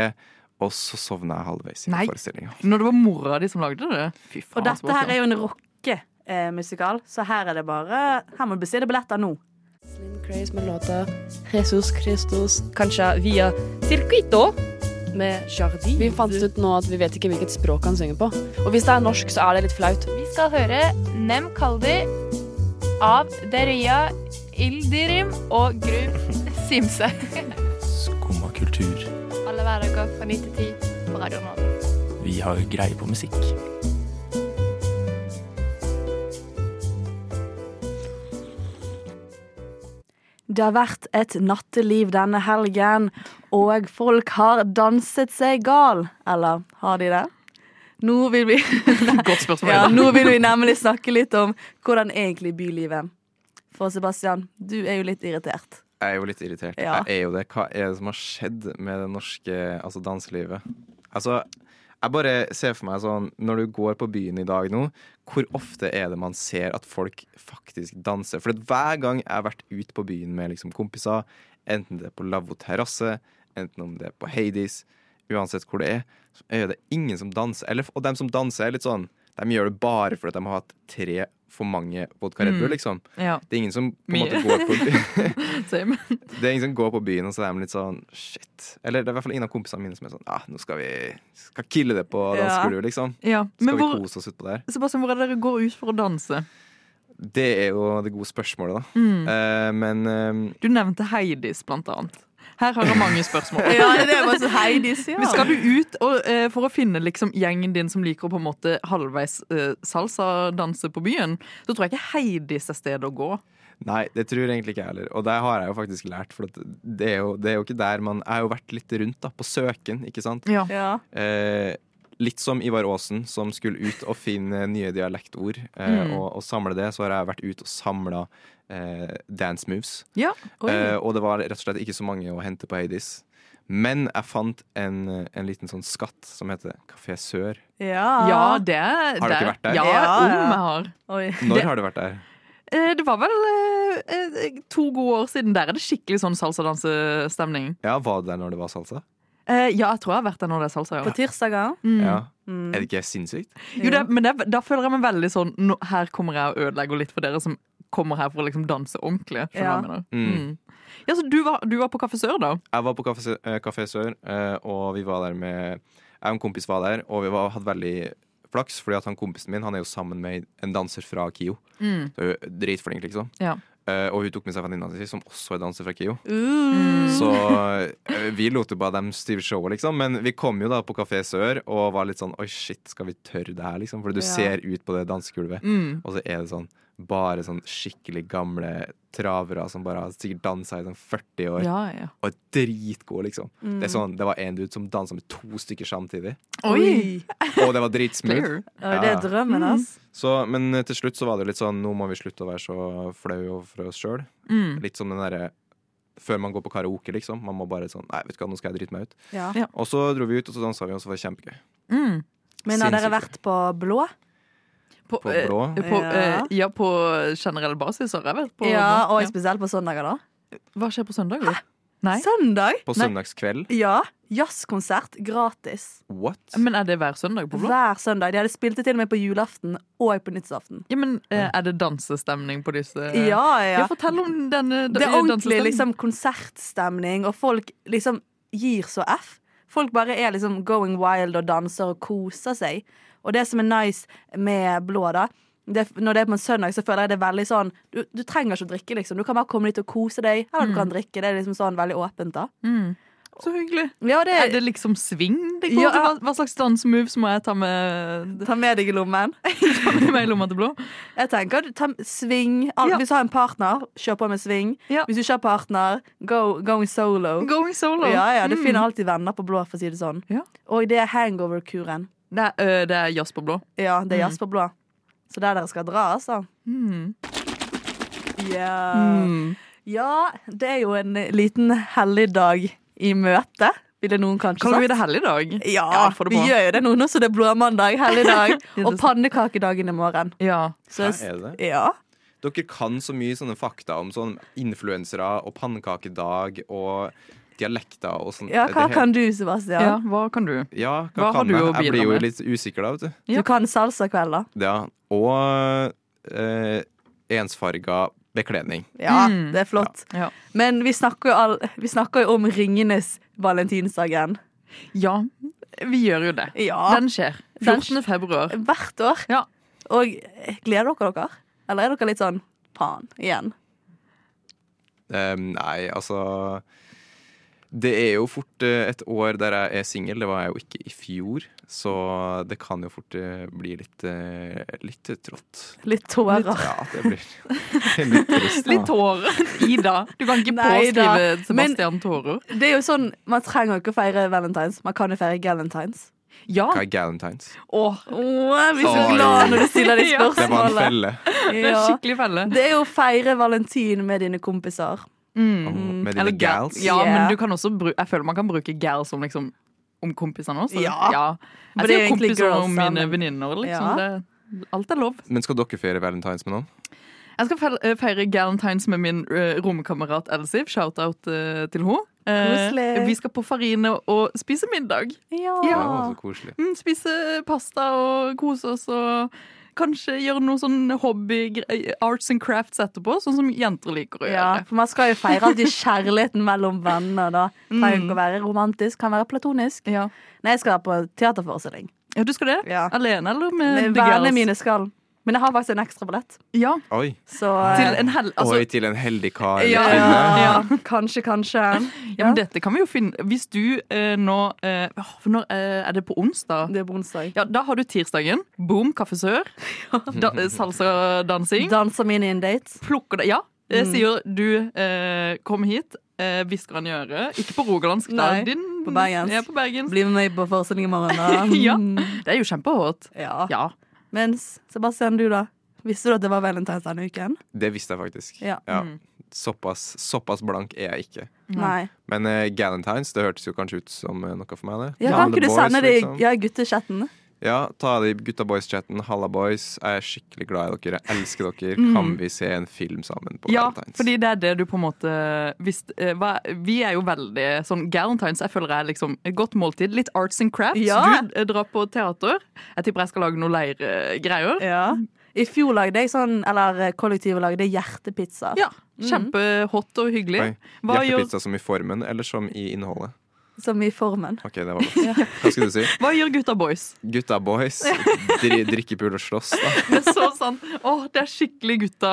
D: og så sovna jeg halvveis i
E: Nei.
D: forestillinga.
E: Når det var mora di som lagde det? Fy faen.
C: Og dette her er jo en rockemusikal, så her er det bare Her må du bestille billetter nå.
L: Slim Craze med låta Jesus Christus, kanskje via Circuito med Jardin. Vi fant ut nå at vi vet ikke hvilket språk han synger på. Og hvis det er norsk, så er det litt flaut.
M: Vi skal høre Nem Kaldi av Deria Ildirim og Gru Simse.
K: Skumma kultur.
M: Alle hverdager fra 9 til 10 på Radio Nova.
K: Vi har greie på musikk.
C: Det har vært et natteliv denne helgen, og folk har danset seg gal. Eller har de det? Nå vil vi,
E: Godt spørsmål.
C: ja,
E: Ida.
C: nå vil vi nemlig snakke litt om hvordan er egentlig bylivet. For Sebastian, du er jo litt irritert.
D: Jeg er jo litt irritert.
C: Ja.
D: Jeg er jo det. Hva er det som har skjedd med det norske altså danselivet? Altså, jeg bare ser for meg sånn Når du går på byen i dag nå, hvor ofte er det man ser at folk faktisk danser? For at hver gang jeg har vært ute på byen med liksom kompiser, enten det er på lavvo terrasse, enten om det er på Hades, uansett hvor det er, så er det ingen som danser. Eller, og dem som danser, er litt sånn De gjør det bare fordi de har hatt tre for mange vodka Red Bull,
E: Mm.
D: liksom.
E: Ja.
D: Det er ingen som på en
E: Mye.
D: måte går på byen.
E: Same.
D: Det er ingen som går på byen og så er de litt sånn shit. Eller det er i hvert fall ingen av kompisene mine som er sånn ah, nå skal vi skal kille det på
E: Ja.
D: dansegulvet, liksom.
E: Ja,
D: Skal
E: men
D: vi
E: hvor-
D: kose oss utpå der?
E: Sebastian, hvor er det dere går ut for å danse?
D: Det er jo det gode spørsmålet, da.
E: Mm.
D: Eh, men eh,
E: Du nevnte Heidis, blant annet. Her har jeg mange spørsmål.
C: Ja, det er bare så Heidis, ja.
E: Men skal du ut og, eh, for å finne liksom, gjengen din som liker å på en måte halvveis eh, salsa-danse på byen, så tror jeg ikke Heidis er stedet å gå.
D: nei, det tror egentlig ikke jeg heller. Og det har jeg jo faktisk lært, for at det er jo, det er jo ikke der man Jeg har jo vært litt rundt, da. På søken, ikke sant.
E: Ja.
D: Eh, litt som Ivar Aasen, som skulle ut og finne nye dialektord eh,
E: Mm.
D: og, og samle det. Så har jeg vært ute og samla eh, dance moves.
E: Ja, oi.
D: Eh, og det var rett og slett ikke så mange å hente på Hades. Men jeg fant en, en liten sånn skatt som heter Kafé Sør.
C: Ja,
E: Ja, det Har
D: dere vært der?
E: Ja,
D: Ja,
E: om
D: ja.
E: jeg har.
D: Når
E: Det-
D: har du vært der?
E: eh, Det var vel eh, eh, to gode år siden. Der er det skikkelig sånn salsa-dansestemning.
D: Ja, Var du der når det var salsa?
E: Eh, ja, jeg tror jeg har vært der når det er salsa. Ja.
C: På tirsdager?
E: Mm.
D: Ja. Er det ikke sinnssykt?
E: Jo, det, men det, da føler jeg meg veldig sånn nå, Her kommer jeg og ødelegger litt for dere som kommer her for å liksom danse ordentlig. Skjønner du
D: Ja.
E: hva jeg mener?
D: Mm.
E: Mm. Ja, så du var, du var på Kafé Sør, da?
D: Jeg var på Kafé, eh, Kafé Sør, eh, og vi var der med Jeg og en kompis var der, og vi var, hadde veldig flaks, fordi at han kompisen min han er jo sammen med en danser fra KIO.
E: Mm.
D: Så hun er Dritflink, liksom.
E: Ja.
D: Eh, og hun tok med seg venninna si, som også er danser fra KIO.
C: Mm.
D: Så eh, vi lot jo bare dem styre showet, liksom. Men vi kom jo da på Kafé Sør og var litt sånn Oi, shit, skal vi tørre det her, liksom? For du
C: Ja.
D: ser ut på det dansegulvet,
C: Mm.
D: og så er det sånn bare sånn skikkelig gamle travere som bare har sikkert dansa i sånn 40 år.
E: Ja, ja.
D: Og er dritgode, liksom.
E: Mm.
D: Det, er sånn, det var en dude som dansa med to stykker samtidig.
E: Oi!
D: Og det var dritsmooth.
E: Player. Ja, det er drømmen,
C: Mm.
D: Ja.
E: ass.
D: Så, men eh, til slutt så var det jo litt sånn Nå må vi slutte å være så flau overfor oss sjøl.
E: Mm.
D: Litt som den derre før man går på karaoke, liksom. Man må bare sånn Nei, vet du hva, nå skal jeg drite meg ut.
C: Ja. Ja.
D: Og så dro vi ut, og så dansa vi, og så var det kjempegøy.
E: Mm.
C: Men har dere
D: Sinnssykt.
C: vært på blå?
E: På,
D: På Blå?
E: eh, På, eh,
C: Ja.
E: ja, på generell basis har jeg vært på
C: Ja,
E: Blå.
C: og spesielt på søndager, da.
E: Hva skjer på søndager? Nei.
C: Søndag?
D: På
C: Nei.
D: søndagskveld.
C: Ja. Jazzkonsert gratis.
D: What?
E: Men er det hver søndag på Blå?
C: Hver søndag. De hadde spilt det til og med på julaften og på nyttårsaften.
E: Ja, men eh, Er det dansestemning på disse
C: Ja, ja.
E: Fortell om denne
C: Det er ordentlig
E: dansestemningen.
C: liksom, konsertstemning, og folk liksom gir så F. Folk bare er liksom going wild og danser og koser seg. Og det som er nice med blå, da det, Når det er på en søndag, så føler jeg det er veldig sånn Du, du trenger ikke å drikke, liksom. Du kan bare komme dit og kose deg, eller du kan drikke. Det er liksom sånn veldig åpent, da.
E: Mm. Så hyggelig.
C: Ja, det...
E: Er det liksom swing? Det går?
C: Ja.
E: til? Hva, hva slags dansemoves må jeg ta med
C: Ta med deg i lommen?
E: ta med meg i lomma til blå?
C: Jeg tenker ta sving. Al- Hvis du har en partner, kjør på med sving. Hvis du ikke har partner, go, going solo.
E: Going solo.
C: Ja, ja, Du
E: Mm.
C: finner alltid venner på blå, for å si det sånn. Og det er hangover-kuren.
E: Det er, øh, det er jazz på blå.
C: Ja, det er jazz
E: Mm.
C: på blå. Så der dere skal dra, altså.
E: Mm.
C: Ja.
E: Mm.
C: ja, det er jo en liten helligdag i møte, ville noen kanskje
E: Kaller vi
C: sagt.
E: det helligdag?
C: Ja,
E: få det
C: vi
E: på.
C: gjør jo det nå, nå som det er blåmandag, helligdag,
E: Ja, det
C: og pannekakedagen i morgen.
E: Ja.
C: Så,
D: Hæ, er det det?
C: ja.
D: Dere kan så mye sånne fakta om sånn influensere og pannekakedag og dialekter og sånn.
C: ja,
D: Det er
C: hva
D: helt-
C: kan du, Sebastian?
E: Ja, hva kan du?
D: Ja, hva,
E: Hva har
D: kan
E: du
D: jeg?
E: å
D: Jeg
E: bidra
D: blir jo
E: med?
D: litt usikker da, vet du.
C: Du kan salsakveld, da.
D: Ja, og eh, ensfarga bekledning.
C: Ja,
E: Mm.
C: det er flott. Men vi snakker, jo all, vi snakker jo om Ringenes valentinsdagen.
E: Ja, vi gjør jo det. Den skjer.
C: Den
E: 14. februar.
C: Hvert år. Og gleder dere dere? Eller er dere litt sånn faen igjen?
D: Eh, nei, altså Det er jo fort eh, et år der jeg er singel. Det var jeg jo ikke i fjor. Så det kan jo fort eh, bli litt, eh, litt trått.
C: Litt tårer.
D: Ja, det blir litt trist. da.
E: Litt tårer. Ida, du kan ikke
C: Nei da,
E: påskrive
C: men-
E: Sebastian tårer.
C: Det er jo sånn, Man trenger jo ikke å feire valentines. Man kan jo feire galentines.
E: Ja.
D: Hva er galentines?
E: Åh,
C: jeg blir så
D: Oi.
C: glad når du stiller de
E: Ja.
D: Det var en
C: spørsmålene.
D: felle.
E: Det er en skikkelig felle.
C: Det er jo å feire valentin med dine kompiser.
E: Mm.
D: Med
E: Eller
D: dine
E: ga-
D: gals.
E: Ja,
C: Yeah.
E: men du kan også bru jeg føler man kan bruke gal som liksom om kompisene også. Altså,
C: Ja.
E: Jeg
C: For det er
E: sier
C: jo egentlig
E: kompiser
C: girls,
E: om
C: da,
E: mine
C: men-
E: venninner, liksom.
C: Ja.
E: Det, alt er lov.
D: Men skal dere feire valentines med noen?
E: Jeg skal fel- eh, feire galentines med min eh, romkamerat Elsiv. Shout-out eh, til henne.
C: Koselig.
E: vi skal på Farine og spise middag.
C: Ja.
E: Ja.
D: Å, så koselig.
E: Mm, spise pasta og kose oss og kanskje gjøre noe sånn hobby, arts and crafts etterpå, sånn som jenter liker å gjøre.
C: Ja, for Man skal jo feire alltid kjærligheten mellom venner. da Trenger ikke å være romantisk, kan være platonisk. Nei, jeg skal på teaterforestilling.
E: Ja, du skal det? Alene eller med
C: Men
E: The
C: Vennene
E: Girls?
C: Eh, mine skal. Men jeg har faktisk en ekstra billett.
E: Ja.
D: Oi.
C: Så eh,
E: Til en hel... Altså,
D: Oi, til en heldig kar.
E: Ja,
D: eller kvinne.
E: ja.
C: Kanskje, kanskje.
E: Ja, men dette kan vi jo finne Hvis du eh, nå eh, åh, For når eh, er det på onsdag?
C: Det er på onsdag.
E: Ja, Da har du tirsdagen. Boom, Kaffe Sør. Da, eh, Salsadansing.
C: Danser mine in dates.
E: Plukker det Ja, eh,
C: Mm.
E: sier du eh, 'kom hit', eh, hvisker han i øret. Ikke på rogalandsk, da.
C: Nei,
E: Din-
C: på bergensk.
E: Ja, på bergensk.
C: Bli med meg på forestilling i morgen, da. Mm.
E: ja. Det er jo kjempehot.
C: Ja.
E: ja.
C: Mens Sebastian, du, da? Visste du at det var valentines denne uken?
D: Det visste jeg faktisk.
C: Ja.
D: Ja.
C: Mm.
D: Såpass, såpass blank er jeg ikke.
C: Nei.
D: Men eh, Galentines det hørtes jo kanskje ut som eh, noe for meg. det
C: Ja, kan
D: Alle
C: ikke du
D: boys,
C: sende det i
D: liksom.
C: ja, i guttechatten?
D: Ja, ta det i gutta boys-chatten. Halla boys, jeg er skikkelig glad i dere. Jeg elsker dere.
E: Mm.
D: Kan vi se en film sammen på
E: Ja,
D: Valentine's?
E: fordi det er det du på en måte hvis, eh, hva, Vi er jo veldig sånn Galentines jeg føler er liksom et godt måltid. Litt arts and crafts.
C: Ja.
E: Du eh, drar på teater. Jeg tipper jeg skal lage noen leirgreier.
C: Ja. I fjor lagde jeg sånn, eller kollektivet lagde hjertepizza.
E: Ja. Kjempehot og hyggelig.
D: Oi.
E: Hva gjør,
D: Hjertepizza som i formen, eller som i innholdet?
C: Som i formen.
D: OK, det var godt. Hva skulle du si?
E: hva gjør gutta boys?
D: Gutta boys, dri drikkepul og slåss, da.
E: Det er så sant. Åh, det er skikkelig gutta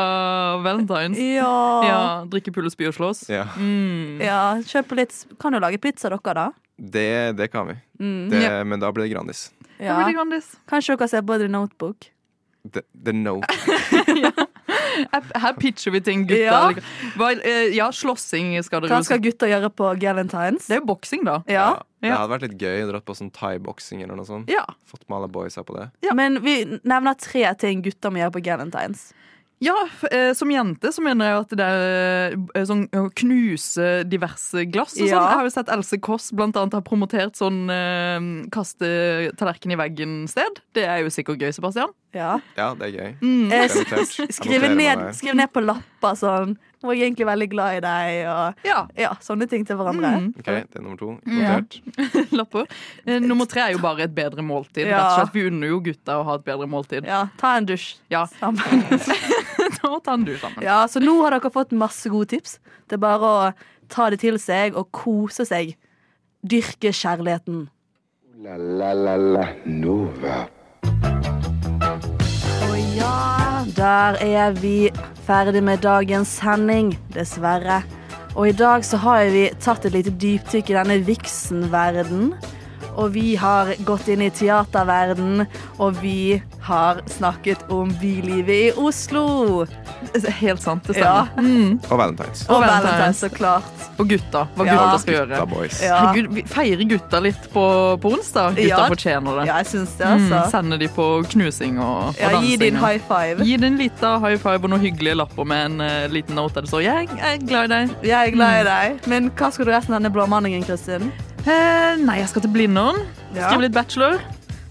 E: valentines.
C: Ja.
E: ja Drikke, pule, spy og slåss.
D: Ja,
E: Mm.
C: Ja, kjøp litt Kan jo lage pizza, dere, da.
D: det, det kan vi.
C: Mm.
D: Det, men da blir det Grandis.
C: Ja.
E: Veldig Grandis.
C: Kanskje dere ser på The Notebook.
D: The, the no.
E: Her- Her pitcher vi ting, gutta.
C: Ja.
E: Eller- Hva, eh, ja, slåssing skal dere
C: Hva skal gutter gjøre på Galentines?
E: Det er jo boksing, da.
C: Ja.
D: Det hadde vært litt gøy å dra på sånn thaiboksing eller noe sånt.
E: Ja.
D: Fått med alle boysa på det.
C: Men vi nevner tre ting gutter må gjøre på Galentines.
E: Ja, f- eh, som jente så mener jeg at det er eh, sånn å knuse diverse glass og
C: Ja.
E: sånn. Jeg har jo sett Else Kåss blant annet har promotert sånn eh, kaste tallerken i veggen-sted. Det er jo sikkert gøy, Sebastian.
C: Ja.
D: Ja, det er gøy.
E: Mm.
C: Eh,
D: Det er notert.
C: s-
D: Jeg
C: skrive,
D: noterer meg
C: ned,
D: det.
C: skrive ned på lapper sånn 'Nå er jeg egentlig veldig glad i deg', og
E: Ja.
C: ja, sånne ting til hverandre.
E: Mm.
D: OK, det er nummer to.
E: Ja.
D: Notert.
E: Lapper. Eh, nummer tre er jo bare et bedre måltid.
C: Ja.
E: Rett og slett, Vi unner jo gutta å ha et bedre måltid.
C: Ja, ta en dusj
E: Ja.
C: sammen.
E: Da tar du sammen.
C: Ja, så nå har dere fått masse gode tips. Det er bare å ta det til seg og kose seg. Dyrke kjærligheten.
B: La la la la Nova.
C: Og ja, der er vi ferdig med dagens sending, dessverre. Og i dag så har vi tatt et lite dypdykk i denne vixen-verden. Og vi har gått inn i teaterverden, og vi har snakket om bylivet i Oslo.
E: Helt sant, det
C: Ja.
E: stemmer. Mm.
D: Og Valentine's.
C: Og
E: Og
C: Valentine,
E: Valentine's.
C: så klart.
E: Og gutta. Hva
C: Ja.
E: gutta skal gjøre.
D: Gutta boys.
C: Ja.
E: Herregud, vi feirer gutta litt på, på onsdag. Gutta
C: Ja.
E: fortjener det.
C: Ja, jeg syns det, altså.
E: Mm, sende de på knusing og, og
C: Ja,
E: dansing.
C: gi din
E: og-
C: high five.
E: Gi den en liten ah, high five og noen hyggelige lapper med en eh, liten note der det står 'Jeg er glad i deg'.
C: Jeg er
E: Mm.
C: glad i deg. Men hva skal du resten av denne blåmanningen, Kristin?
E: Eh, nei, jeg skal til Blindern.
C: Ja.
E: Skrive litt bachelor.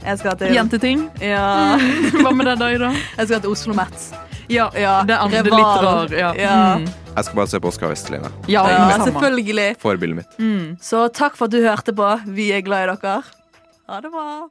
C: Jeg skal til
E: Jenteting.
C: Ja.
E: Hva med deg, da, Ida?
C: Jeg skal til Oslo Met.
E: Ja,
C: Ja,
E: det andre litt
C: Rivalen.
E: rar. Ja,
C: Ja.
E: Mm.
D: Jeg skal bare se på Oskar Vestelina.
E: ja,
C: Ja,
E: det samme.
C: selvfølgelig.
D: Forbildet mitt.
C: Så takk for at du hørte på. Vi er glad i dere. Ha det bra.